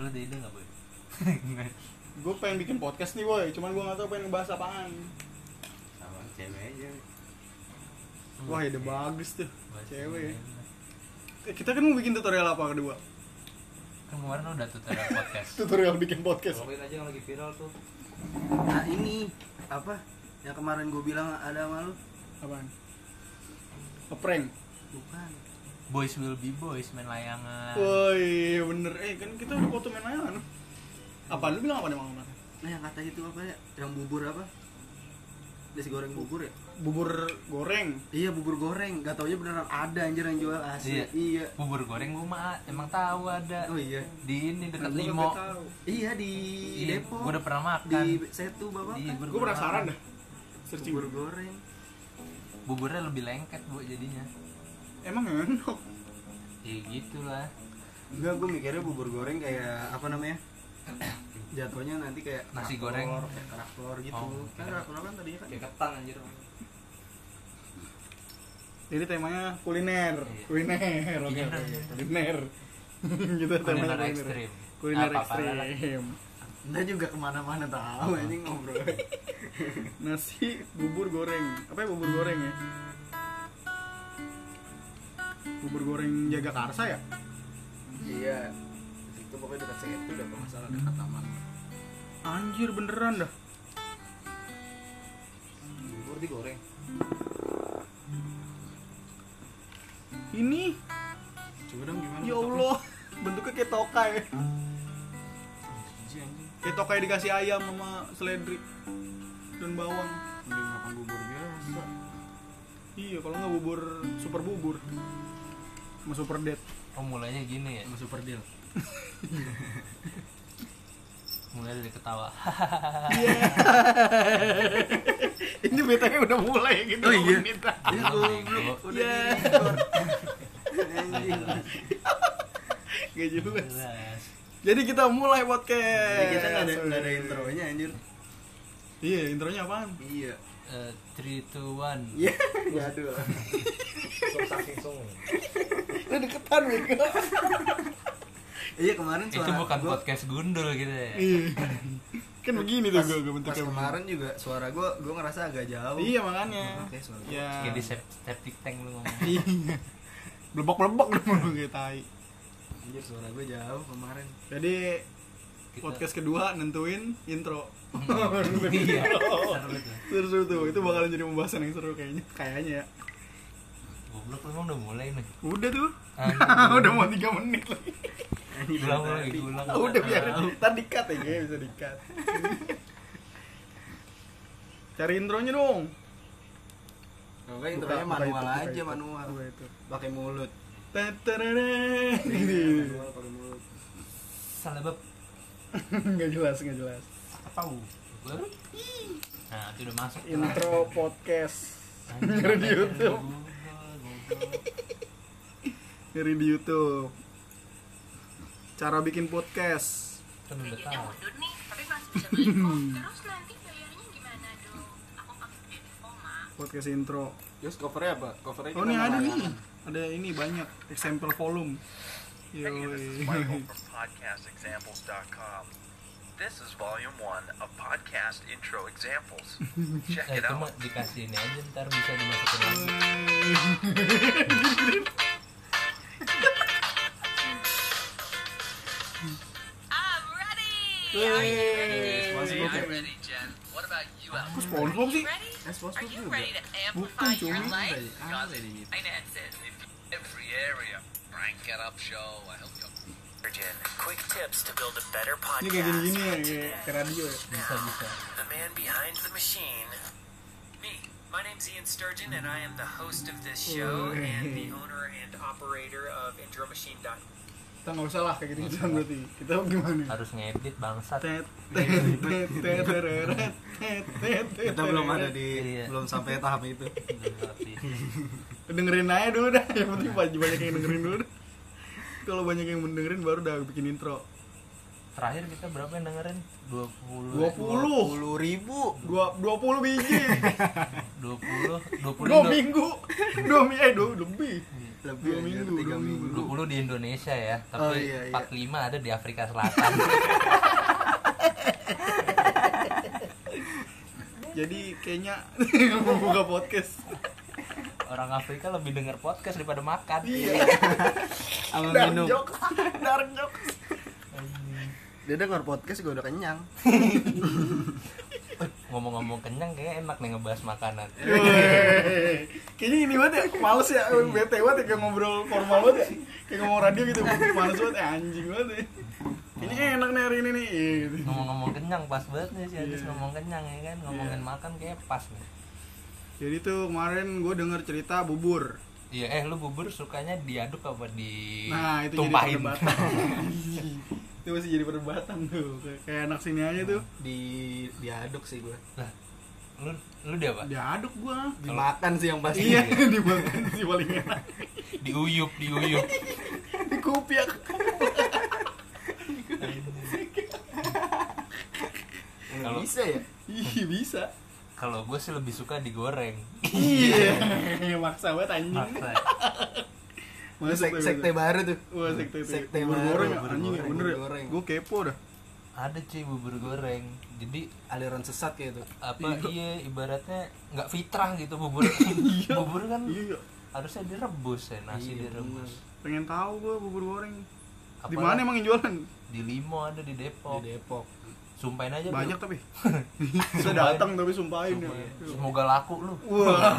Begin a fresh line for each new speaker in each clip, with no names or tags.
Lu ada ide nggak boy?
Gue pengen bikin podcast nih boy, cuman gue gak tau pengen ngebahas apaan
sama cewek aja
Wah
ya,
ide bagus tuh,
Bahas
cewek ya.
ini.
Eh, Kita kan mau bikin tutorial apa kedua?
Kan kemarin udah tutorial podcast.
Tutorial bikin podcast
Ngomongin aja yang lagi viral tuh
Nah ini apa yang kemarin gue bilang ada sama lu?
Apaan? Ngeprank?
Bukan.
Boys will be boys main layangan.
Woi bener, eh kan kita udah foto main layangan Apaan lu bilang apa emang kemarin?
Nah yang kata itu apa ya? Yang bubur apa? Nasi goreng bubur ya?
Bubur goreng
Iya bubur goreng. Gak taunya beneran ada anjir yang jual asli.
Iya.
Iya.
Bubur goreng gua mah emang tahu ada.
Oh iya.
Di ini dekat
Gua
Limo.
kagak tahu.
Iya di
Iya,
Depok.
gua udah pernah makan.
Di Setu bapak.
Iya, gua udah
Gue
pernah
penasaran
makan.
dah Searching
Bubur goreng.
Buburnya lebih lengket bu jadinya.
Emang enak
Ya gitulah.
Enggak, gue mikirnya bubur goreng kayak apa namanya? Jatuhnya nanti kayak
Nasi
traktor,
goreng.
kayak traktor gitu.
Oh,
kan
kira-
traktor kan tadinya kan?
kayak ketan anjir
Jadi temanya kuliner
Iya.
Kuliner, oke
Kuliner.
oke Kuliner Gitu temanya
Kuliner ekstrim.
Kuliner
Apa-apa lah.
ekstrim
Anda juga kemana-mana tahu anjing
Oh.
ngobrol.
nasi bubur goreng apa ya bubur goreng ya bubur goreng Jagakarsa ya
iya. Itu pokoknya dekat saya itu udah masalah dekat taman.
anjir beneran dah
bubur digoreng
ini
Coba dong gimana?
ya Allah bentuknya kayak tokai
Anjing anjing.
kayak tokai dikasih ayam sama seledri dan bawang Oh,
Mending makan bubur biasa.
iya kalau nggak bubur super bubur sama super dead
Oh mulainya gini ya.
Sama super deal.
Mulai dari ketawa.
Iya.
ini betanya udah mulai gitu
Oh, iya.
menit.
Iya,
Bego.
goblok. Udah
Iya.
di- Anjing.
Nggak jelas.
Jelas.
jadi kita mulai
Ya,
podcast
kita nggak ada nggak ada intronya anjir.
iya intronya apaan
Iya.
Eh, Three to one.
Iya. Ya aduh.
sok saking song
lu deketan Mika
Iya kemarin suara
Itu bukan
gua-
podcast gundul gitu ya.
Iya. kan begini tuh
pas,
gue gue
pas
bentuknya
kemarin juga suara gue gue ngerasa agak jauh
iya makanya
Oke, suara gua.
ya
Kayak di sep- septic tank lu ngomong.
belebok belebok dong lu kayak tai
anjir suara gue jauh kemarin
jadi
Kita-
podcast kedua nentuin intro
Hmm.
Iya. seru tuh.
seru tuh itu bakalan jadi pembahasan yang seru kayaknya kayaknya ya
Goblok lu emang udah mulai nih.
udah tuh
Ah,
udah mau tiga menit lagi
Ulang lagi, ulang.
Ah, udah
Ah.
biarin ntar dikat ya guys bisa dikat cari intronya dong
oke intronya manual aja manual
Apa itu
pakai mulut
Teterere. Gitu.
manual pakai mulut
Salah bab.
nggak jelas nggak jelas
Apa lu? Baru. Nah, itu udah masuk. tuh.
intro podcast
Anjing,
nyari
belajar
di YouTube
Google, Google.
nyari di YouTube cara bikin podcast
Kan udah
Ini
tahu.
mundur nih, tapi masih bisa beli kok. Terus nanti bayarnya gimana dong? Aku pakai kredit koma.
podcast intro
terus covernya apa covernya
oh ini ada nih ada ini banyak example volume
This
Yoi.
is Michael from podcastexamples.com. This is volume one of podcast intro examples. Check
Nah,
it
itu mah
out.
dikasih ini aja ntar bisa dimasukin lagi.
Ah, I'm ready.
Eh,
Iya, SpongeBob ya?
ready, Jen. What about you, Al?
Kok SpongeBob sih
Ready?
Eh,
Are
SpongeBob
you
juga
ready to
Bukan,
amplify your
cumi.
iya,
life?
ada di
Finances.
Every area. Rank it up show. I hope you Jen, quick tips to build a better
ini
podcast.
kayak gini gini ya kayak ke radio ya
Bisa bisa.
The man behind the machine.
Me. My name's Ian Sturgeon, and I am the host of this show and the owner and operator of IndroMachine.com.
kita nggak usah lah kayak gitu gitu berarti kita gimana
Harus ngedit bangsat.
Tet, tet, tet, tet, tereret, tet, tet, tet,
kita belum ada di
Iya.
belum sampai tahap itu
Belum ngerti.
dengerin aja dulu dah yang penting banyak banyak yang dengerin dulu dah kalau banyak yang mendengerin baru udah bikin intro
Terakhir kita berapa yang dengerin? 20
dua puluh
puluh ribu
dua dua puluh biji
20 20
dua
Indo.
minggu dua minggu eh dua lebih
Iya.
lebih
Dua
anjir,
minggu,
tiga
dua
minggu.
minggu.
20 di Indonesia ya, tapi
Oh, iya, iya.
45 ada di Afrika Selatan.
Jadi kayaknya mau buka podcast.
Orang Afrika lebih denger podcast daripada makan.
Iya.
Sama
Dark
minum.
jokes. Dark jokes.
Dia denger podcast gue udah kenyang.
Ngomong-ngomong kenyang kayaknya enak nih ngebahas makanan.
Iya. Wey. Kayaknya ini banget ya, males ya, bete banget ya, kayak ngobrol formal banget ya Kayak ngomong radio gitu, males banget, ya, anjing banget ya Ini kayak enak nih hari ini nih Iya, gitu.
Ngomong-ngomong kenyang pas banget nih si Adis
Iya.
ngomong kenyang ya kan, ngomongin makan kayaknya pas nih.
Jadi tuh kemarin gue denger cerita bubur
Iya, eh lu bubur sukanya diaduk apa di
Nah itu jadi
tumpahin?
perdebatan Itu masih jadi perdebatan tuh Kayak- Kayak anak sini aja tuh
Di diaduk sih gue.
lu lu dia apa?
Diaduk gua
Dimakan sih yang pasti.
Iya, dimakan sih paling enak
Diuyup, diuyup.
Dikupiak
Nggak
Kalau-
bisa ya.
Ih, bisa
Kalau gue sih lebih suka digoreng.
Iya, maksa banget anjing
Maksa.
Itu
Masuk
sek-
tuh,
sekte baru tuh.
Wah sekte itu
Sekte
bubur
baru,
goreng ya
bubur
anjing ya
goreng,
bener
bubur goreng.
ya Gue kepo dah
Ada cuy bubur goreng. Jadi
Aliran sesat kayak itu.
apa iya ibaratnya nggak fitrah gitu bubur bubur kan
Iya
harusnya direbus ya nasi
Iya,
direbus
pengen tahu gue bubur goreng
Apa
di mana emang yang jualan
di limo ada di depok
Di Depok.
sumpahin
Iya,
aja
banyak
Bro.
tapi bisa datang tapi sumpahin ya
Iya. semoga laku lu
wah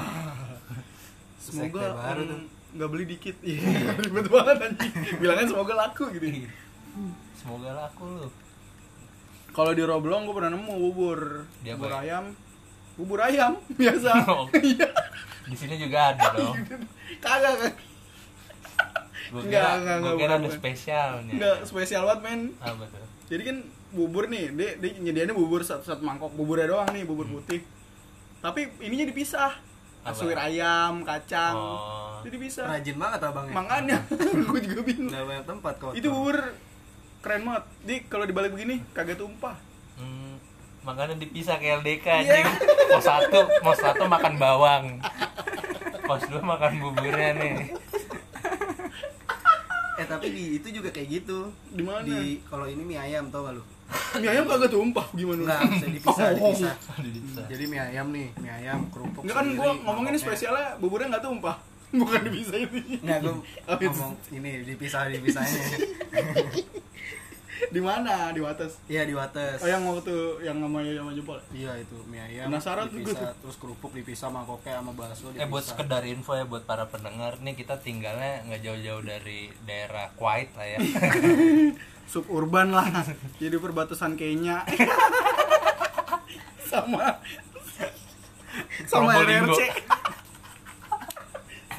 Sekte
semoga
baru tuh.
orang nggak beli dikit Iya, ribet banget anjing bilangnya semoga laku gitu
Iya. semoga laku lu
kalau di Roblong gue pernah nemu bubur
Di apa ya?
bubur
Oh.
ayam bubur ayam biasa iya
di sini juga ada dong
kagak kan?
Iya,
kagak
gue
Nggak,
kira
nggak,
gue
nggak,
kira
bukan,
ada
bukan.
spesialnya
nggak spesial banget men
apa tuh
Jadi kan bubur nih, dia, dia nyediainnya bubur satu, satu mangkok, buburnya doang nih, bubur putih. Tapi ininya dipisah.
Hmm. Apa?
Suwir ayam, kacang.
Oh. ya?
Jadi bisa.
Rajin banget abangnya.
Makanya gue juga bingung.
Nggak banyak tempat kok.
Itu bubur keren banget. Di kalau dibalik begini kagak tumpah.
hmm, makanan dipisah kayak LDK anjing pos satu pos satu makan bawang pos dua makan buburnya nih
Eh tapi di itu juga kayak gitu.
Di mana?
Di kalau ini mie ayam tau gak lu?
Mie ayam kagak tumpah gimana? Oh.
Enggak, bisa dipisah, dipisah.
dipisah
Jadi mie ayam nih, mie ayam kerupuk.
Enggak kan
sendiri,
gua ngomongin
mangkoknya.
spesialnya buburnya nggak tumpah. Bukan bisa ini.
Enggak, gua
Oh, it's-
ngomong ini dipisah dipisahin.
Di mana? Di atas.
Iya di Wates.
Oh yang waktu yang sama sama jempol.
Iya itu mie ayam.
Penasaran tuh gua
dipisah, terus kerupuk dipisah mangkoknya sama bakso dipisah.
Eh buat sekedar info ya buat para pendengar nih kita tinggalnya nggak jauh-jauh dari daerah Kuwait lah ya.
suburban lah jadi perbatasan Kenya sama sama
Probolinggo.
RRC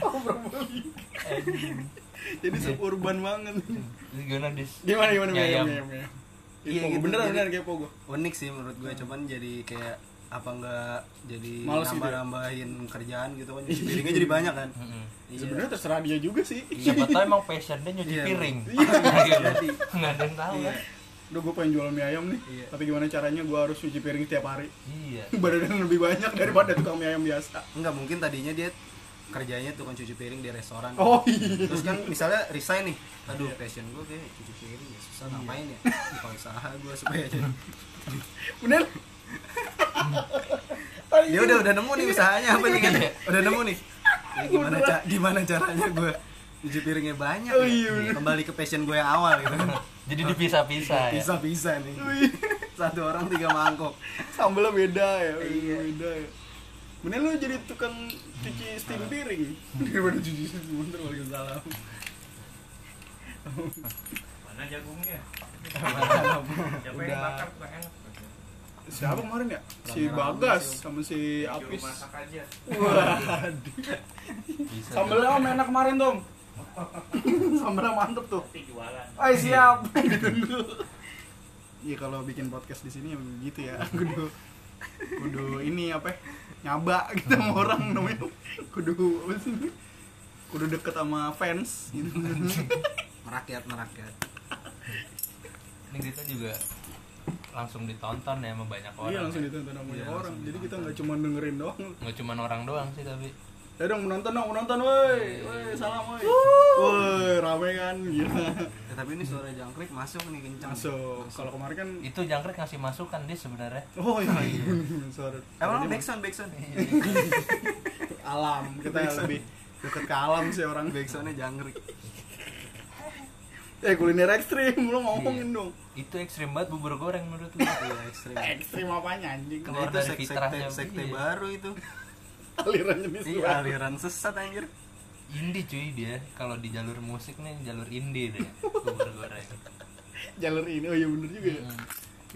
Oh, Probolinggo. jadi suburban banget
Ini Gimana dis?
gimana gimana
Mie ayam.
Iya,
Iya, gitu,
bener
jadi-
bener kepo gue.
Unik sih menurut gue, cuman jadi kayak apa enggak jadi
Males gitu ya?
nambah-nambahin kerjaan gitu kan. Jadi piringnya jadi banyak kan.
Mm-mm.
Iya.
Sebenarnya terserah dia juga sih.
Siapa tahu emang passion dia nyuci
Iya.
piring.
Iya.
Iya. Nggak ada yang tahu
Iya.
kan?
Udah gue pengen jual mie ayam nih,
Iya.
tapi gimana caranya gue harus cuci piring tiap hari?
Iya.
Badannya lebih banyak daripada tukang mie ayam biasa.
Enggak mungkin tadinya dia kerjanya tukang cuci piring di restoran.
Oh iya.
Terus kan misalnya resign nih. Aduh, passion gue kayak cuci piring ya susah
Iya.
ngapain ya? Buka usaha gue supaya jadi.
Bener? Ya
Dia Ya udah udah nemu
Iya.
nih usahanya apa nih kan? Udah nemu nih. Ya, gimana ca gimana caranya gue cuci piringnya banyak
Oh,
ya?
iya, bener.
Kembali ke passion gue yang awal gitu.
Jadi dipisah-pisah
Iya.
ya.
Bisa-bisa nih.
Wih.
Satu orang tiga mangkok.
sambelnya beda ya
Iya.
beda ya Mending lu jadi tukang cuci steam piring daripada cuci steam bentar waalaikumsalam
Mana jagungnya? Siapa
Udah.
yang bakar tuh enak?
siapa kemarin ya si
Rame-rame
Bagas
sih.
sama si
Juru
Apis
masak aja.
waduh
Bisa.
sambelnya om enak kemarin dong sambelnya mantep tuh
Nanti jualan.
Ay siap Iya kalau bikin podcast di sini ya gitu ya kudu kudu ini apa ya, nyaba gitu sama orang namanya kudu apa sih kudu deket sama fans gitu
Merakyat merakyat.
Ini kita juga langsung ditonton ya sama banyak orang.
Iya langsung
ya.
ditonton sama banyak
Iya,
orang.
langsung
Jadi kita
ditonton.
nggak cuma dengerin doang. Ya
Nggak cuma orang doang sih tapi
Ayo dong menonton dong, menonton woi. Woi, salam woi. Woi, rame kan gila.
Ya, tapi ini suara jangkrik masuk nih kencang.
Masuk. Kalau kemarin kan
itu jangkrik ngasih masukan dia sebenarnya
Oh iya, suara.
Emang
suaranya
backsound backsound.
alam gitu. kita lebih deket ke alam sih orang
Backsoundnya jangkrik.
eh kuliner ekstrim lo ngomongin dong
itu ekstrim banget bubur goreng menurut gue
Iya ekstrim.
ekstrim apanya anjing
Keluar
itu
dari
sek- sekte,
fitrahnya,
sekte
iya.
baru itu.
aliran jenis
Iya
luar.
aliran sesat anjir.
indie cuy dia kalau di jalur musik nih jalur indie deh bubur goreng
jalur ini oh iya bener juga ya
Hmm.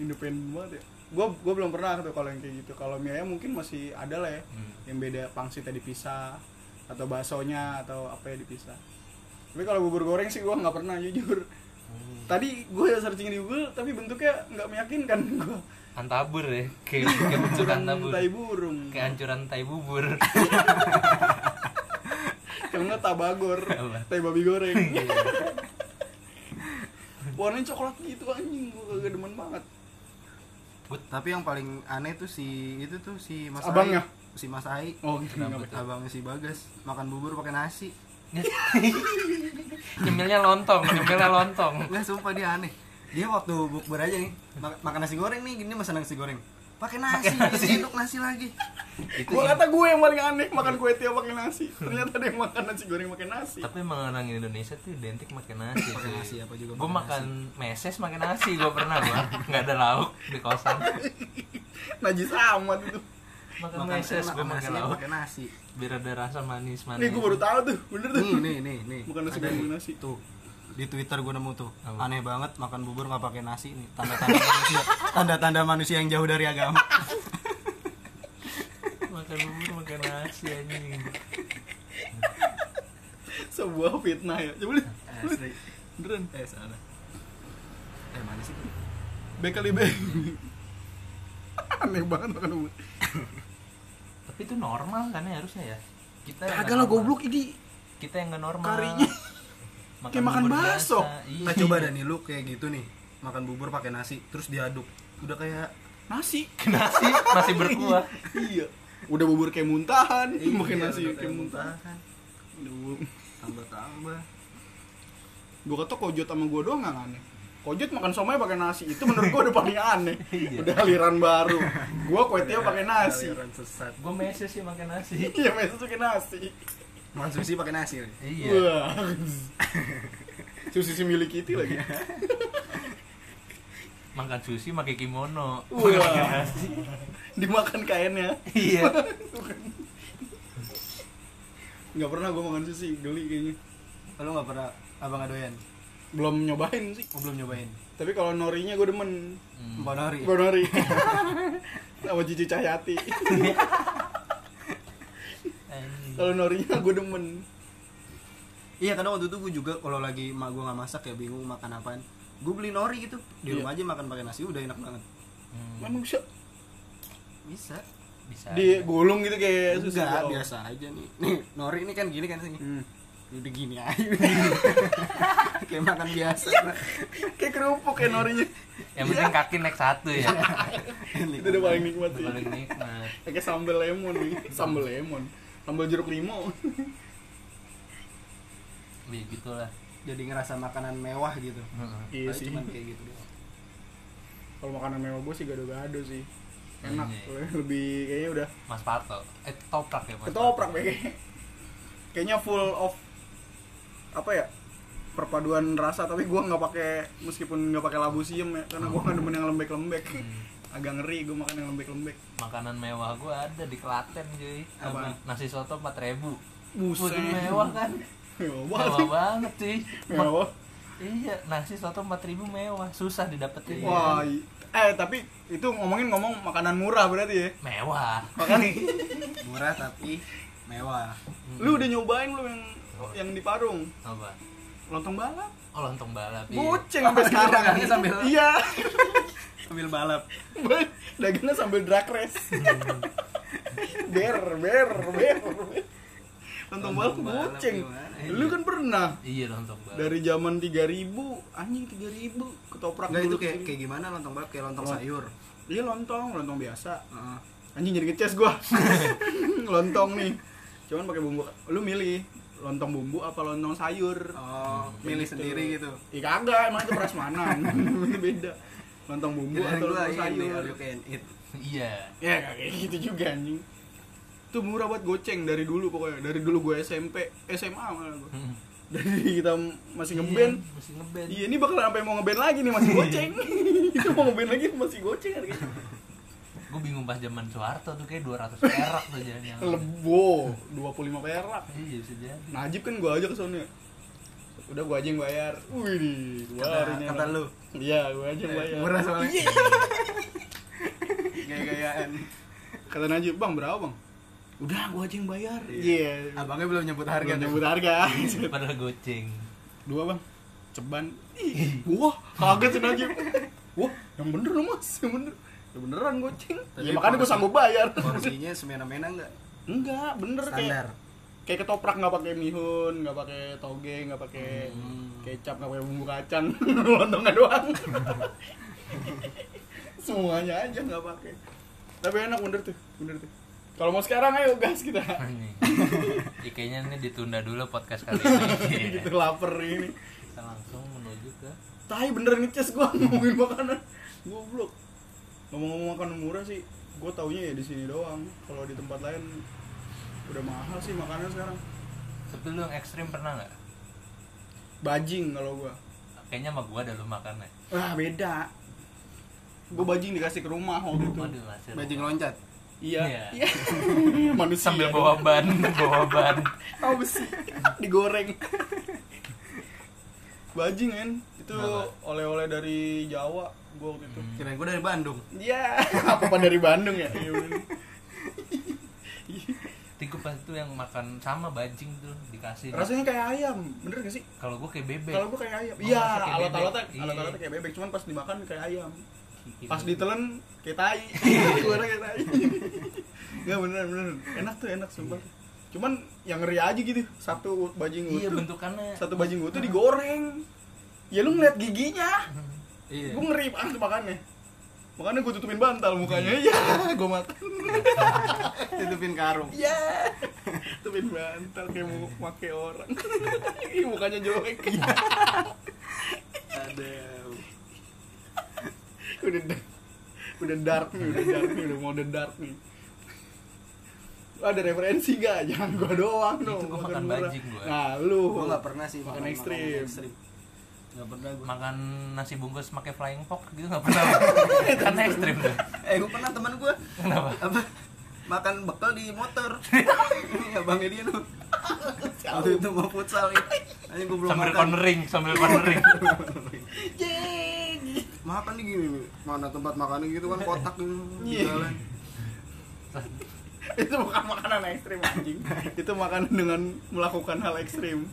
independen banget ya gue gue belum pernah tuh kalau yang kayak gitu kalau mie ayam mungkin masih ada lah ya
Hmm.
yang beda pangsitnya dipisah atau baksonya atau apa ya dipisah tapi kalau bubur goreng sih gue nggak pernah jujur tadi gue searching di Google tapi bentuknya nggak meyakinkan gue
antabur ya kayak kayak bentuk antabur
tai burung
kayak hancuran tai bubur
kalau nggak tabagor
Apa?
tai babi goreng warnanya coklat gitu anjing gue kagak demen banget
Tapi yang paling aneh tuh si itu tuh si Mas
Abangnya?
Ai. Si Mas Ai.
oh gitu
Kenapa
nggak-
tuh?
Abangnya si Bagas makan bubur pakai nasi.
nyemilnya lontong nyemilnya lontong
Enggak sumpah dia aneh. Dia waktu bukber aja nih mak- makan nasi goreng nih gini pesan nasi goreng. Pakai nasi, sendok nasi lagi.
itu
Gua kata gue yang paling aneh makan kue tiaw pakai nasi. Ternyata ada yang makan nasi goreng pakai nasi.
tapi emang orang Indonesia tuh identik pakai nasi
Pakai nasi apa juga
gue
pakai
makan meses pakai nasi gue pernah gue nggak ada lauk di kosan
Najis amat itu.
makan,
Makan
meses gue
makan
pakai
nasinya
lauk
pakai nasi.
biar ada rasa manis manis
Nih gue baru tahu tuh, bener tuh.
Nih Hmm, nih nih nih.
Bukan nasi
Ada
goreng
nih.
nasi.
Tuh di Twitter gue nemu tuh
Apa?
aneh banget makan bubur nggak pakai nasi nih tanda-tanda manusia tanda-tanda manusia yang jauh dari agama
makan bubur makan nasi anjing
Sebuah fitnah ya. Coba lihat.
Asli.
Beneran.
eh salah eh mana sih
Iya. Back kali back. aneh banget makan bubur.
tapi itu normal kan ya harusnya ya kita yang
Kagak
nggak
lah
normal.
goblok ini.
kita yang nggak normal
Karinya kayak makan
bubur
bakso.
biasa. Iya.
Nah coba dah nih lu kayak gitu nih makan bubur pakai nasi terus diaduk udah kayak
Nasi.
nasi masih berkuah
iya. Udah bubur kayak muntahan, pakai
Iya,
nasi
udah
kayak muntahan.
muntahan.
Udah bubur.
tambah-tambah
Gue kata kojot sama gue doang gak aneh Kojot makan somai pakai nasi Itu menurut gue udah paling aneh Udah aliran baru Gue kue tiaw pakai nasi
Iya. Aliran sesat
gue meses sih makan nasi
Iya meses tuh pakai nasi
makan sushi pakai nasi nih.
iya
Wah Susi milik Kitty lagi
makan sushi pakai kimono
Wah Dimakan kainnya
iya
Gak pernah gue makan sushi Geli kayaknya
lu nggak pernah abang nggak doyan
Belum nyobain sih
Gua belum nyobain
Tapi kalau norinya gue demen
Hmm.
empat hari
Gue nori Sama Cici Cahyati
Anjing.
Kalau norinya gue demen
Hmm. iya karena waktu itu gue juga kalau lagi emak gue nggak masak ya bingung makan apaan gue beli nori gitu di
Iya.
rumah aja makan pakai nasi udah enak banget
Hmm,
Emang bisa
bisa
bisa
digulung gitu kayak sushi
enggak
doang.
biasa aja nih nih nori ini kan gini kan sih
Hmm.
udah gini aja kayak makan biasa
Iya. kayak kerupuk kayak
Iya.
norinya
yang
Iya.
penting kaki naik satu ya
itu udah paling nikmat sih
paling nikmat
pakai sambal lemon nih sambal lemon sambal jeruk limau
ya gitulah Hmm.
jadi ngerasa makanan mewah gitu
Heeh.
iya
Padahal
sih
cuman kayak gitu doang.
kalau makanan mewah gue sih gado-gado sih enak
Iya.
lebih kayaknya udah
Mas Parto eh ketoprak ya Mas
ketoprak
Parto.
deh kayaknya. kayaknya full of apa ya perpaduan rasa tapi gue nggak pakai meskipun nggak pakai labu siem ya karena gue nggak demen yang lembek-lembek
Hmm.
agak ngeri gue makan yang lembek-lembek
makanan mewah gue ada di Klaten cuy
Apa?
Nama- nasi soto 4000 ribu
Buset.
mewah kan
mewah banget
mewah
sih.
banget cuy Ma-
mewah
iya nasi soto 4000 mewah susah didapetin
wah i- eh tapi itu ngomongin ngomong makanan murah berarti ya
mewah
makanya
murah tapi mewah
Lu udah nyobain lu yang
Oh.
yang di Parung,
apa
lontong balap.
oh lontong balap iya.
Boceng sampai sekarang.
Dagangnya sambil
Iya.
sambil balap
Dagangnya sambil drag race. ber, ber, ber. Lontong balap
Lontong balap
boceng.
gimana?
Lu kan pernah
iya lontong balap
dari zaman 3000, anjing 3000 ketoprak
Enggak
dulu
itu kayak
kesini.
kayak gimana lontong balap kayak lontong
Oh.
sayur
Iya lontong, lontong biasa.
Heeh.
Anjing jadi ngeces gua. lontong nih. cuman pakai bumbu lu milih lontong bumbu apa lontong sayur
Oh, milih
Gitu.
sendiri gitu.
Ih kagak, emang itu prasmanan. Beda. Lontong bumbu
Kirain
atau
gua iya,
lontong
ini
sayur.
all you can eat.
iya
Ya kayak gitu juga anjing. Itu murah buat goceng dari dulu pokoknya. Dari dulu gue SMP, SMA malah gue.
Hmm.
Dari kita masih ngeband.
Iya, mesti ngeband
Iya, ini bakal sampai mau ngeband lagi nih masih goceng. itu mau ngeband lagi masih goceng harganya.
gue bingung pas zaman Soeharto tuh kayak 200 perak tuh jalannya
Lebo, 25 perak.
iya bisa jadi
Najib kan gue aja ke sono. Udah gue aja yang bayar. Wih, di, gua hari
Kata,
ini
kata
enak.
lu, Eh,
Iya, gue aja yang bayar.
murah soalnya. Gaya-gayaan.
Kata Najib, "Bang, berapa, Bang?" "Udah, gua aja yang bayar."
Iya.
Iya.
Abangnya belum nyebut harga
Belum
tuh.
nyebut harga.
padahal goceng
Dua, Bang. Ceban. Ih, Wah, kaget si Najib. Wah, yang bener lu, Mas. Yang bener. Ya beneran goceng.
Tapi
ya makanya gua
porsi-
sanggup bayar.
Porsinya semena-mena enggak?
Enggak, bener
Standar.
kayak kayak ketoprak nggak pakai mihun, nggak pakai toge, nggak pakai
Hmm.
kecap, nggak pakai bumbu kacang, lontongnya doang. Semuanya aja nggak pakai. Tapi enak bener tuh, bener tuh. Kalau mau sekarang ayo gas kita.
Nih. Ih, Ya, kayaknya ini ditunda dulu podcast kali
Iya.
ini Iya.
gitu lapar ini.
kita langsung menuju ke
Tai bener nih Ces gua ngomongin makanan. Hmm. Goblok. Ngomong-ngomong makanan murah sih, gua taunya ya di sini doang. Kalau di tempat lain udah mahal sih makanan sekarang.
tapi lu yang ekstrim pernah nggak
Bajing kalau gua.
kayaknya sama gua ada lu ya. makannya
Wah, beda. Gua bajing dikasih ke rumah waktu itu.
waduh masih
Bajing loncat.
Iya.
Iya. Iya. Manusia.
sambil
dong.
bawa ban bawa ban
Tahu besi digoreng. Bajing kan itu
Kenapa?
oleh-oleh dari Jawa gua waktu itu.
Hmm.
Kirain gua dari Bandung.
Iya, apa apa dari Bandung ya? Iya bener.
tiku pas itu yang makan sama bajing tuh dikasih
Rasanya kayak ayam, bener gak sih?
kalau gua kayak Iya. bebek
Kalau gua kayak ayam.
Oh,
Iya,
rasa kayak
alat-alatnya
bebek. Iya.
alat-alatnya kayak bebek, cuman pas dimakan kayak ayam.
Kayak
Pas
bebek.
ditelan kayak tai. Suara kayak tai. Enggak bener bener. Enak tuh enak sumpah. Cuman yang ngeri aja gitu, satu bajing
iya
utuh.
bentukannya
Satu bajing utuh digoreng. Ya lu ngeliat giginya.
Iya.
Gue ngeri banget makannya. Makanya gue tutupin bantal mukanya. Iya, gue makan.
Tutupin karung.
Iya. Tutupin bantal kayak mau make orang. Ih, mukanya jelek.
Iya.
Ada.
udah da- udah dark nih, udah dark nih, udah mau udah dark nih. Lu ada referensi gak? Jangan gua doang dong.
gua makan
murah.
bajing gua.
Nah, lu.
Gua enggak pernah sih
Makan
makanan
ekstrim.
ekstrim. Enggak pernah gua.
makan nasi bungkus pakai flying fox gitu nggak pernah kan ekstrim tuh
Eh, gua pernah teman gua
kenapa
apa? Makan bekal di motor. Iya, Bang Edian. Waktu itu mau futsal. ya. Anjing gua belum
sambil
makan.
cornering sambil cornering
Makan nih gini. nih. Mana tempat makannya gitu kan kotak gitu.
Iya.
Jalan.
Itu bukan makanan ekstrim anjing. Itu makanan dengan melakukan hal ekstrim.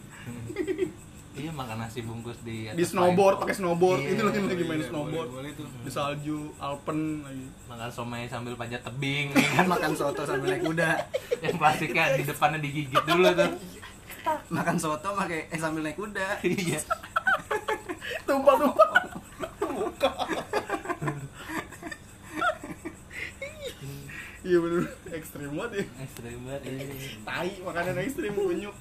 iya makan nasi bungkus di
Di
atas flying
snowboard, pakai snowboard.
Iya.
Itu lagi lagi main
Iya,
snowboard.
Boleh, boleh tuh.
Di salju, alpen lagi.
fox. makan somai sambil panjat tebing ya kan?
Makan soto sambil naik kuda.
yang plastiknya di depannya digigit dulu tuh
Makan soto pakai eh sambil naik kuda.
iya
Tumpah, tumpah. Buka. Iya bener, ekstrim banget ya.
ekstrim banget iya.
tai makanan ekstrim kunyuk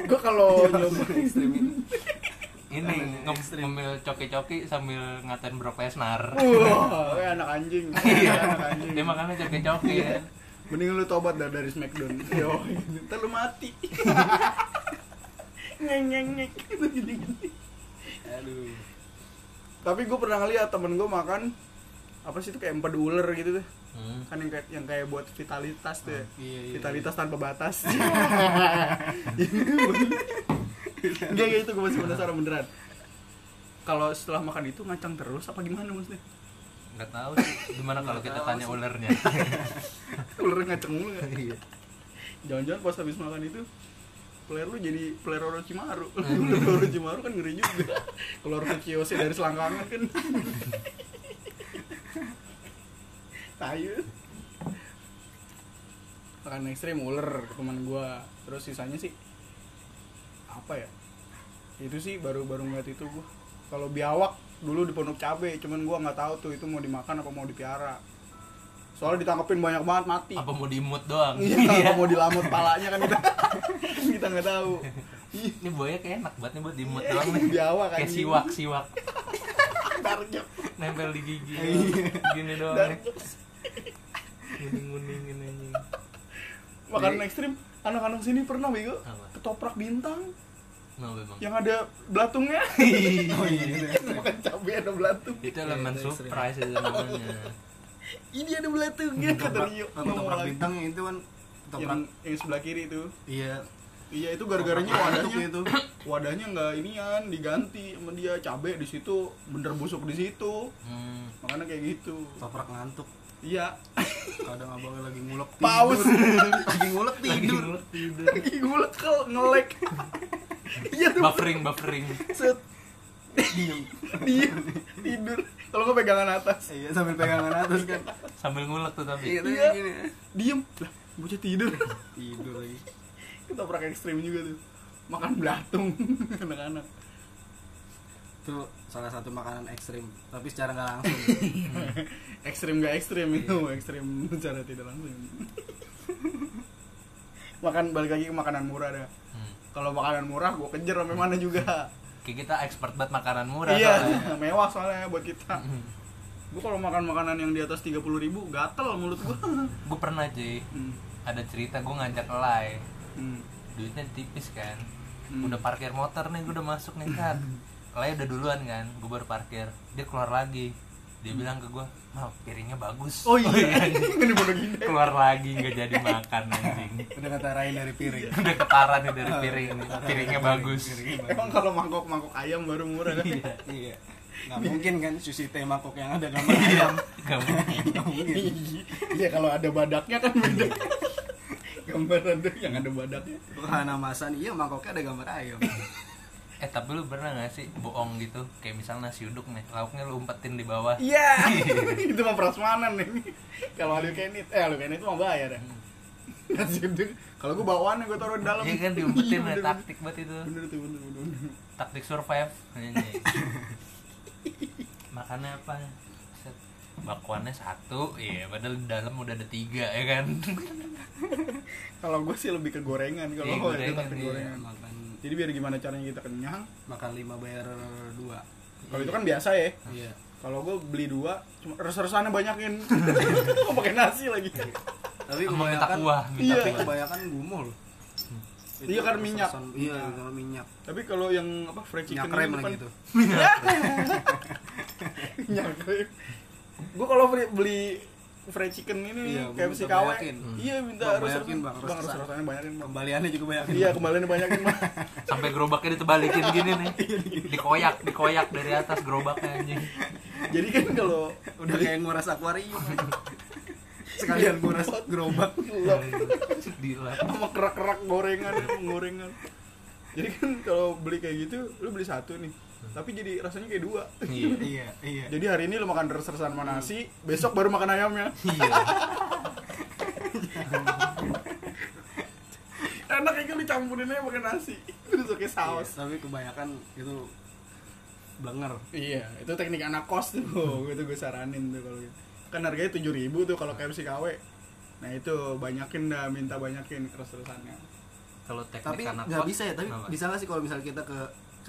gue kalau nyoba
Ekstrim ini.
ini nge- ngemil coki-coki sambil ngatain Brock Lesnar
wah eh, anak anjing iya anak anjing
dia makannya coki-coki ya
mending lu tobat dah dari Smackdown yo gitu. ntar lu mati nyeng nyeng nyeng gitu gini gini
Aduh.
tapi gue pernah ngeliat temen gue makan apa sih itu kayak empedu ular gitu tuh
Hmm.
kan yang kayak yang kayak buat vitalitas tuh ya.
Iya, iya.
vitalitas tanpa batas enggak enggak itu gue masih penasaran beneran kalau setelah makan itu ngacang terus apa gimana maksudnya
nggak tahu sih gimana kalau kita tanya ulernya
ularnya ngacang mulu nggak
Iya.
jangan-jangan pas habis makan itu player lu jadi player Orochimaru Ular Orochimaru kan ngeri juga keluar ke kiosnya dari selangkangan kan tayu makan ekstrim ular teman gua terus sisanya sih apa ya itu sih baru-baru ngeliat itu gua kalau biawak dulu di pondok cabe cuman gua nggak tahu tuh itu mau dimakan apa mau dipiara Soalnya ditangkepin banyak banget mati.
apa mau diimut doang
Iya, mau dilamut palanya kan kita. kita nggak tahu. Iya, Ih,
ini buaya kayak enak banget nih buat diimut doang nih
Biawak kan.
kayak siwak siwak
Dark jokes.
nempel di gigi gini doang ya.
Dark
nih.
jokes.
nguning-nguningin anjing
Makanan ekstrim. Anak-anak sini pernah bego
Apa?
ketoprak bintang
mau bang
yang ada belatungnya.
Oh iya, gitu ya.
Makan cabai ada belatung.
itu elemen
itu ekstrim.
surprise itu namanya
Ini ada belatungnya kata Rio.
Toprak- Toprak bintang itu kan toprak
yang, yang sebelah kiri itu.
iya
Iya itu gara-garanya wadahnya
itu
wadahnya nggak inian diganti sama dia cabe di situ bener busuk di situ
hmm.
makanya kayak gitu
toprak ngantuk
iya
kadang abangnya lagi ngulek tidur.
Paus.
lagi ngulek tidur
ngulet
gue kel ngelek iya tuh
buffering buffering
set diem tidur kalau nggak pegangan atas
iya sambil pegangan atas kan
sambil ngulek tuh tapi
iya tapi
Iya.
gini ya.
diem lah bocah tidur
tidur lagi
ketoprak ekstrim juga tuh makan belatung anak-anak
itu salah satu makanan ekstrim tapi secara nggak langsung
ekstrim gak ekstrim itu ekstrim secara tidak langsung makan balik lagi ke makanan murah dah
Hmm.
kalau makanan murah gue kejar sampai mana juga
kayak kita expert banget makanan murah
iya
soalnya.
mewah soalnya buat kita
Hmm.
gue kalau makan makanan yang di atas 30.000 ribu gatel mulut gue
gue pernah cuy
hmm.
ada cerita gue ngajak ngelai
Hmm.
duitnya tipis kan
Hmm.
udah parkir motor nih gue udah masuk nih kan Lai udah duluan kan gue baru parkir dia keluar lagi dia bilang ke gue mau piringnya bagus
oh iya ini bodoh gini
keluar lagi nggak jadi makan anjing
udah ketarain dari piring
udah ketaran nih dari piring piringnya bagus
emang kalau mangkok mangkok ayam baru murah kan
iya nggak mungkin kan sushi teh mangkok yang ada gambar ayam
Gak mungkin.
nggak mungkin
iya kalau ada badaknya kan beda gambar ada yang ada badaknya
Rohana Masan iya mangkoknya ada gambar ayam
eh tapi lu pernah gak sih bohong gitu kayak misalnya nasi uduk nih lauknya lu umpetin di bawah
Iya, itu mah prasmanan ini. Kalau Alu Kenit, eh Alu Kenit mah bayar ya. Nasi uduk. Kalau gua bawaannya gua taruh di dalam.
Iya kan diumpetin
Iya,
ya,
bener,
taktik banget itu
Bener tuh, bener, bener. bener.
taktik survive ini makannya apa Set. bakwannya satu iya padahal di dalam udah ada tiga ya kan
Kalau gua sih lebih ke gorengan kalau
Iya,
gua
gorengan,
itu taktik
iya.
gorengan.
makan
Jadi biar gimana caranya kita kenyang.
makan lima bayar dua
Kalau itu kan biasa ya.
iya
Kalau gua beli dua, cuma res-resannya banyakin. Mau pakai nasi lagi.
Iya.
tapi
Sama minta kuah minta
Iya.
tapi
kuah
kebanyakan gumoh loh Itu
Iya, karena minyak.
pesan- iya karena minyak
Tapi kalau yang apa fried chicken
minyak krem
kan-
lagi tuh
Minyak krem. Gua kalau beli- beli fried chicken ini
Iya, gua
kayak si
minta
KW.
banyakin.
Iya, minta
Bang,
res-
banyakin, Bang,
Bang,
res-resan.
res-resannya banyakin, Bang.
kembaliannya juga banyak
Iya kembaliannya banyakin mah.
sampai gerobaknya ditebalikin gini nih
Iya,
dikoyak dikoyak dari atas gerobaknya anjing
Jadi kan kalau
udah kayak nguras akuarium sekalian nguras gerobak
lap
dilap
sama kerak-kerak gorengan gorengan. Jadi kan kalau beli kayak gitu, lu beli satu nih. Tapi jadi rasanya kayak dua.
iya
iya iya
Jadi hari ini lu makan res-resan sama nasi, besok baru makan ayamnya.
iya
Enak ya kan dicampurin aja pakai nasi. Terus pakai
Iya,
saus.
tapi kebanyakan itu blenger
Iya, itu teknik anak kos tuh. itu gue saranin tuh kalau gitu. Kan harganya 7000 tuh kalau KFC KW. Nah, itu banyakin dah, minta banyakin res-resannya.
kalau teknik
tapi
anak
nggak
kos,
bisa ya tapi
kenapa?
bisa nggak sih kalau misalnya kita ke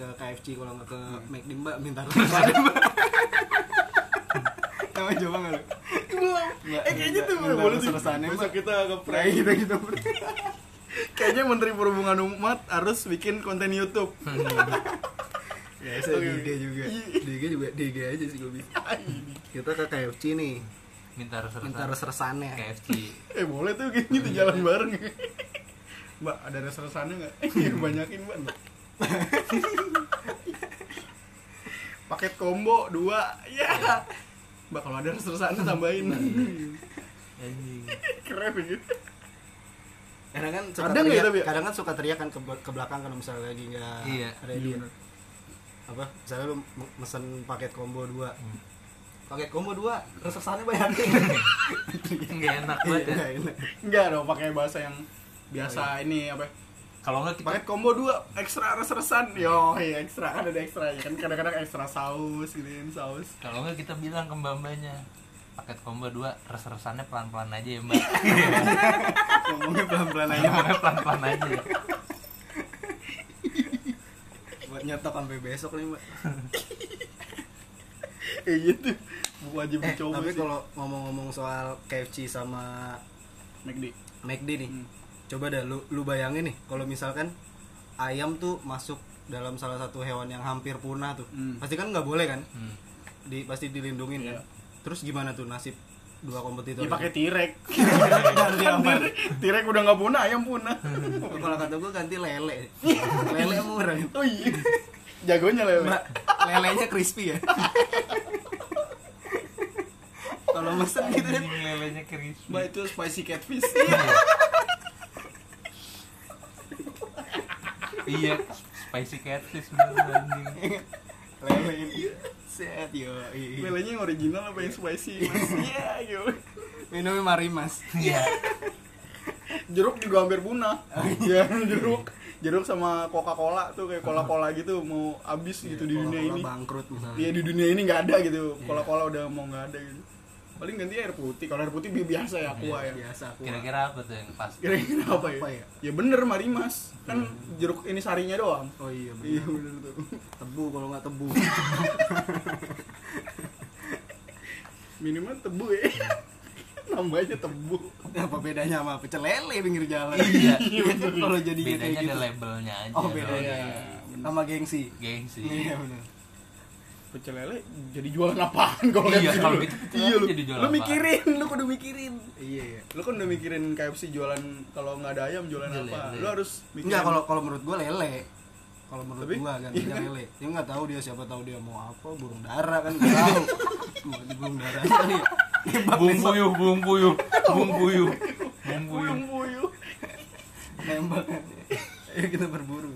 ke KFC kalau nggak ke McD mbak minta terus Kamu coba nggak lu?
Belum.
Iya, Ya,
Eh kayaknya tuh
Bentar,
boleh sih.
terus-terusannya,
Besok
Mbak.
kita ke prank.
Kayak gitu gitu
Kayaknya Menteri Perhubungan Umat harus bikin konten YouTube.
Hmm. ya saya
Iya.
di IG juga di IG juga di IG aja sih gue bisa kita ke KFC nih
minta harus
minta
harus
resannya
KFC
Eh boleh tuh kayaknya tuh jalan bareng. Mbak, ada res-resannya nggak? Iya, banyakin, Mbak. Paket combo dua. Ya. Mbak, kalau ada res-resannya tambahin.
Hmm.
anjing
Keren gitu.
kadang kan suka
Ada nggak ya,
teriak
tapi ya?
kadang kan suka teriak kan ke, ke belakang kalau misalnya lagi nggak
Iya,
ready apa misalnya lu m- mesen paket combo dua paket combo dua resesannya banyak
nggak enak banget ya
Iya, iya.
Enggak dong, pakai bahasa yang
Oh,
biasa ini apa? ya?
kalau nggak kita
Paket combo dua ekstra res-resan. Yo, iya ekstra kan ada ekstra ya kan kadang-kadang ekstra saus gitu kan saus.
kalau nggak kita bilang ke mbak mbaknya paket combo dua res-resannya pelan-pelan aja ya mbak
ngomongnya pelan-pelan aja
Ngomongnya pelan-pelan aja ya
buat nyetok sampai besok nih mbak
eh gitu wajib
eh,
dicoba
tapi
sih
kalau ngomong-ngomong soal KFC sama
McD
McD nih
Hmm.
coba dah lu, lu bayangin nih kalau misalkan ayam tuh masuk dalam salah satu hewan yang hampir punah tuh
Hmm.
pasti kan nggak boleh kan
Hmm.
di pasti dilindungin kan
Iya.
terus gimana tuh nasib dua kompetitor
ya
ini?
pakai tirek tirek udah nggak punah ayam punah
kalau kata gue ganti lele lele murah gitu.
oh iya jagonya lele
Mbak, lelenya crispy ya kalau mesen gitu deh
Anjing, lelenya keris
mbak itu spicy catfish
iya spicy catfish bener anjing
lele ini set yo
lelenya yang original apa yang spicy Mas? iya gitu
minumnya marimas
iya
jeruk juga hampir punah
Oh, iya.
ya jeruk jeruk sama coca cola tuh kayak cola cola gitu mau habis gitu di dunia ini
Coca-Cola bangkrut misalnya
Iya di dunia ini nggak ada gitu. Cola-cola udah mau nggak ada gitu. Paling ganti air putih. Kalau air putih bi- biasa ya aqua ya.
biasa aku
kira-kira apa tuh yang pas
Kira-kira apa ya?
Apa ya?
Ya bener Marimas. Kan jeruk ini sarinya doang.
oh iya
Iya
benar
bener tuh.
tebu kalau nggak tebu
Minimal tebu ya. Nambahnya tebu.
apa bedanya sama pecel lele pinggir jalan
Iya.
kalau jadi
bedanya
kayak
ada
gitu
labelnya aja
Iya.
oh bedanya
dong.
sama gengsi
gengsi
iya benar
Pecel lele jadi jualan apaan kalau
Iya,
KFC
kalau
dulu?
gitu pecel
Iya
lele
lu.
jadi jualan
Lu
apaan?
mikirin, lu kudu mikirin.
iya iya
Lu kan udah mikirin KFC jualan kalau nggak ada ayam jualan
Jualan
apa?
lele.
Lu harus mikirin.
Enggak, kalau kalau menurut gue lele. Kalau menurut
Tapi-
gua kan dia lele. Dia nggak tahu dia siapa tahu dia mau apa, burung dara kan nggak tahu. Mau di burung dara aja nih. Nembak
bumbu
nembak,
yuk bumbu yuk bumbu yuk bumbu yuk
puyung puyung.
nembak. Ayo kita berburu.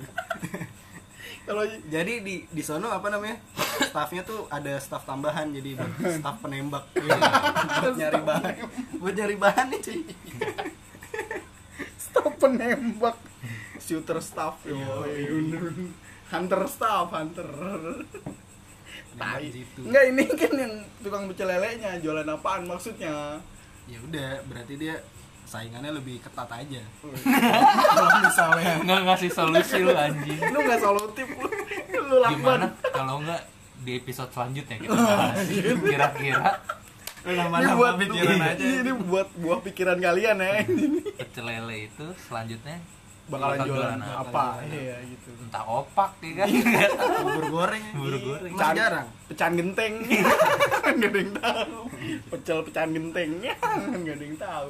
Kalau
Jadi di di sono apa namanya? Staffnya tuh ada staff tambahan jadi buat staff penembak. buat nyari bahan. Buat nyari bahan nih, cuy.
Stop penembak. Shooter staff. Yo, hunter staff, hunter.
Nembak
Tai.
di situ.
Enggak ini kan yang tukang pecel lelenya jualan apaan maksudnya?
Ya udah, berarti dia saingannya lebih ketat aja. Kalau misalnya
nggak ngasih solusi lu anjing
Lu nggak solutif lu. Lu
gimana
lakban.
kalau nggak di episode selanjutnya kita bahas kira-kira
Ini buat
nambah-nambah pikiran aja.
Ini buat buah pikiran kalian ya.
pecel lele itu selanjutnya
Bakalan
Bakal
jualan
jualan
apa? Iya gitu.
entah opak ya kan
bubur goreng.
Bubur goreng.
Mas jarang.
Pecahan genteng. Enggak ada yang tahu. Pecel pecahan gentengnya enggak ada yang tahu.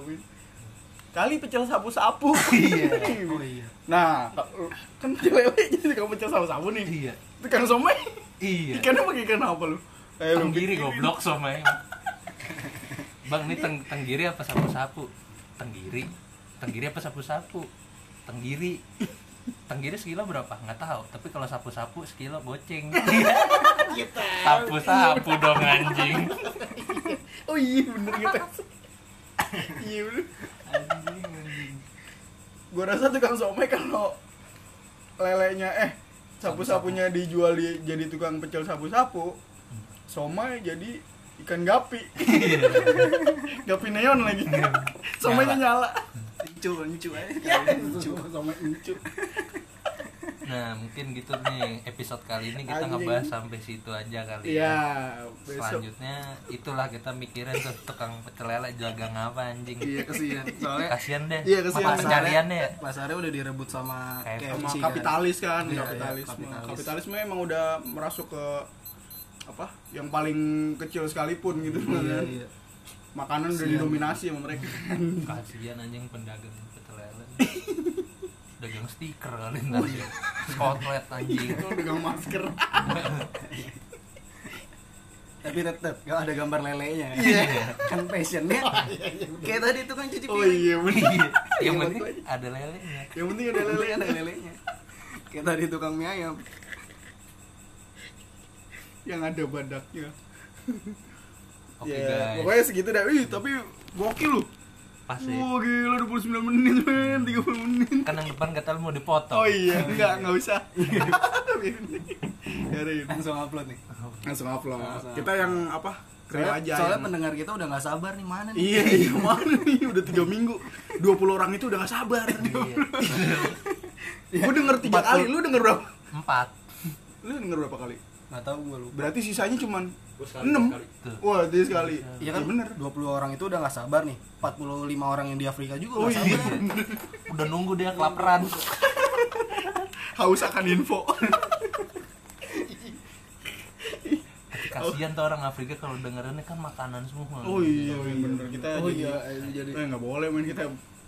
Kali pecel sapu-sapu.
Oh iya.
Nah, kan cewek jadi kamu pecel sabu-sabu nih.
iya
Tukang somai,
iya
ikannya pakai ikan apa lu? Eh, lu
tenggiri goblok somai bang ini teng tenggiri apa sapu-sapu tenggiri tenggiri apa sapu-sapu tenggiri tenggiri sekilo berapa nggak tahu tapi kalau sapu-sapu sekilo goceng sapu-sapu dong anjing
Oh iya bener gitu. iya bener. Gua rasa tukang somai kalau lelenya eh sapu-sapunya dijual di, jadi tukang pecel sapu-sapu,
Hmm.
somai jadi ikan gapi.
Iya.
gapi neon lagi. Somainya nyala.
Encu, encu aja.
Ya, somai encu.
nah mungkin gitu nih episode kali ini kita
Anjing.
ngebahas sampai situ aja kali ya.
Iya, besok.
selanjutnya itulah kita mikirin tuh tukang pecel lele jagang apa anjing
Iya kesian. Soalnya
kasian deh
Iya, kesian.
mata pencariannya ya
pasarnya udah direbut sama
Kayak
sama
KFC, kan.
kapitalis kan
Iya,
kapitalisme.
iya, kapitalis.
kapitalisme emang udah merasuk ke apa yang paling kecil sekalipun gitu kan.
Iya, iya.
makanan udah didominasi sama mereka
kasian anjing pendagang pecel lele dagang stiker kali ntar
Oh, iya.
ya skotlet anjing
itu dengan masker
Tapi tetep gak ada gambar lelenya.
Iya.
kan passionnya. Kayak tadi itu kan cuci
iya, oh
piring.
iya bener
yang penting ada lelenya
yang penting ada lele
ada lelenya. Kayak tadi tukang mie ayam.
yang ada badaknya
oke
Ya,
guys
pokoknya segitu dah Wih, tapi gokil lu
pas ya
Wah gila 29 menit men 30 menit
kan yang depan kata lu mau dipotong
Oh iya, enggak, enggak usah
Iya.
Biarin. Biarin
Langsung upload nih.
Langsung upload
Langsung
Kita yang apa? kayak
Soalnya-
aja
Soalnya
yang-
pendengar kita udah nggak sabar nih mana nih.
iya iya mana nih udah tiga minggu 20 orang itu udah gak sabar
Iya.
gue denger tiga
Empat
kali
puluh.
lu denger berapa
Empat.
lu denger berapa kali
Nggak tahu gue lupa.
berarti sisanya cuman
Gua sekali,
enam
sekali.
Tuh.
wah itu sekali
Iya kan
bener
20 orang itu udah nggak sabar nih. 45 orang yang di Afrika
Oh,
juga nggak
iya.
sabar.
Udah nunggu dia kelaparan.
haus akan info
Kasihan tuh orang Afrika kalau dengerannya kan makanan semua.
oh iya bener kita
Oh
jadi
iya, itu jadi
eh nggak boleh main kita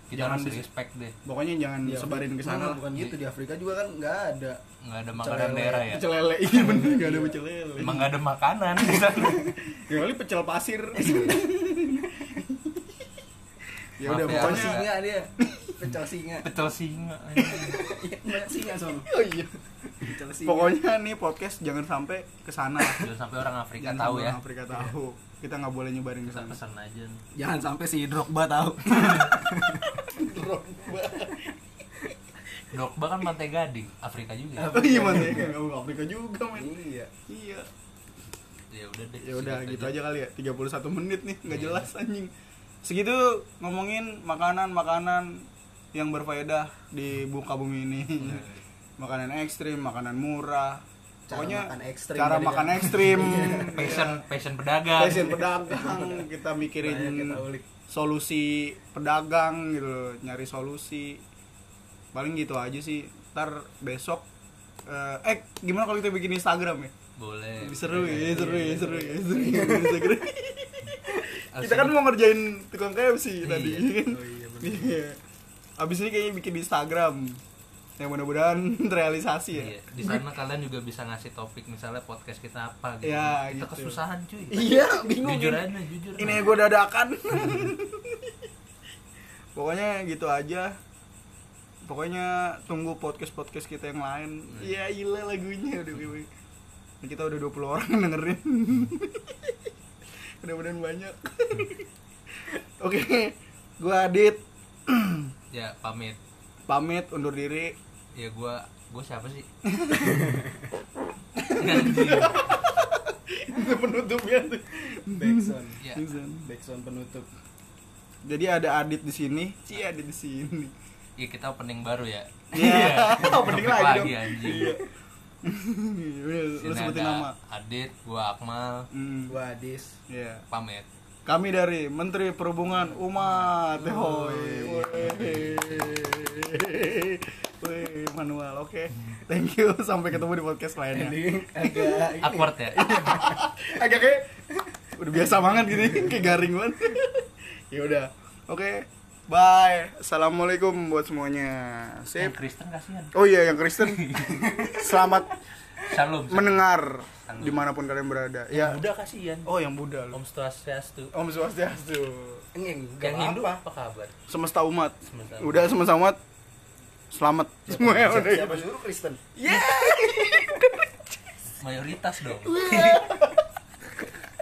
Kita
jangan
harus
dis-
respect deh.
pokoknya jangan
Di
sebarin
Afrika-
ke sana
Bukan, Iya. bukan gitu di Afrika juga kan nggak ada.
Nggak ada makanan
Celele.
daerah ya.
pecel lele iya bener nggak ada pecel lele
Emang nggak ada makanan di sana.
Ya kali pecel pasir. ya udah
Maaf ya,
Pecel
harus
pokoknya
singa dia. Pecel singa.
Pecel singa.
Iya, banyak singa soalnya.
Oh iya.
Pecel singa.
Pokoknya nih podcast jangan sampai ke sana.
Jangan sampai orang Afrika
Jangan
tahu
sampai
ya.
orang Afrika tahu. Kita nggak boleh nyebarin ke
Kita
sana.
pesan aja nih.
jangan sampai si Drogba tahu.
Drogba kan Pantai Gading, Afrika juga.
Oh iya man, ya. Nggak, Afrika juga men.
iya.
Iya.
Ya udah deh.
Ya udah
singkat
gitu aja kali ya. 31 menit nih nggak
Iya.
jelas anjing. Segitu ngomongin makanan-makanan yang berfaedah di buka bumi ini. Makanan ekstrim, makanan murah.
Cara
Pokoknya
makan ekstrim
cara
tadi
makan
kan.
ekstrim.
Passion passion pedagang.
Passion pedagang kita mikirin
Banyak kita ulik.
solusi pedagang gitu loh, nyari solusi paling gitu aja sih ntar besok eh, eh gimana kalau kita bikin Instagram ya
Iya. Boleh.
seru
iya,
ya seru ya seru ya seru ya Instagram kita kan mau ngerjain tukang KFC
Iya.
tadi kan
Oh iya bener.
Iya. abis ini kayaknya bikin Instagram yang mudah-mudahan terrealisasi ya
Iya, di sana kalian juga bisa ngasih topik misalnya podcast kita apa gitu.
Ya,
kita
gitu.
kesusahan cuy.
iya bingung
jujur
ini.
aja, jujur.
ini gue dadakan pokoknya gitu aja pokoknya tunggu podcast podcast kita yang lain ya gila lagunya udah gue kita udah 20 orang dengerin mudah-mudahan banyak oke gue Adit
ya pamit.
pamit undur diri
Ya gua gua siapa sih?
itu penutupnya tuh
Backson.
Ya.
Backson penutup.
jadi ada Adit di sini si Adit di sini
ya kita opening baru ya.
Iya. Opening
Topik
lagi
lagi,
dong.
anjing.
lu
Sini
Iya, sebutin
ada
nama
Adit, gua Akmal,
Hmm,
Gua Adis.
iya.
pamit.
Kami dari Menteri Perhubungan Umat.
Oh,
Hoi.
iya,
Woi, manual. Oke. Thank you. Sampai ketemu di podcast lainnya.
Ending agak ini.
Awkward ya.
Iya, Agak kayak udah biasa banget gini, kayak garing banget. ya udah. Oke. Bye. Assalamualaikum buat semuanya.
Yang
Sip.
Kristen kasihan.
Oh iya, yang Kristen. Selamat
Shalom.
mendengar dimanapun kalian berada. Ya.
Buddha kasihan.
Oh, yang Buddha. lu.
Om Swastiastu.
Om Swastiastu.
Yang
Ini nggak
Hindu
apa.
apa kabar?
Semesta umat.
Semesta umat.
Udah semesta umat. Selamat semua ya udah.
Siapa suruh Kristen?
Mayoritas dong.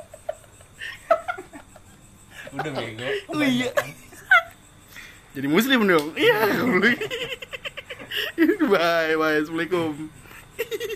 Udah bego.
Oh iya. Jadi muslim dong. Iya. Bye bye. Assalamualaikum.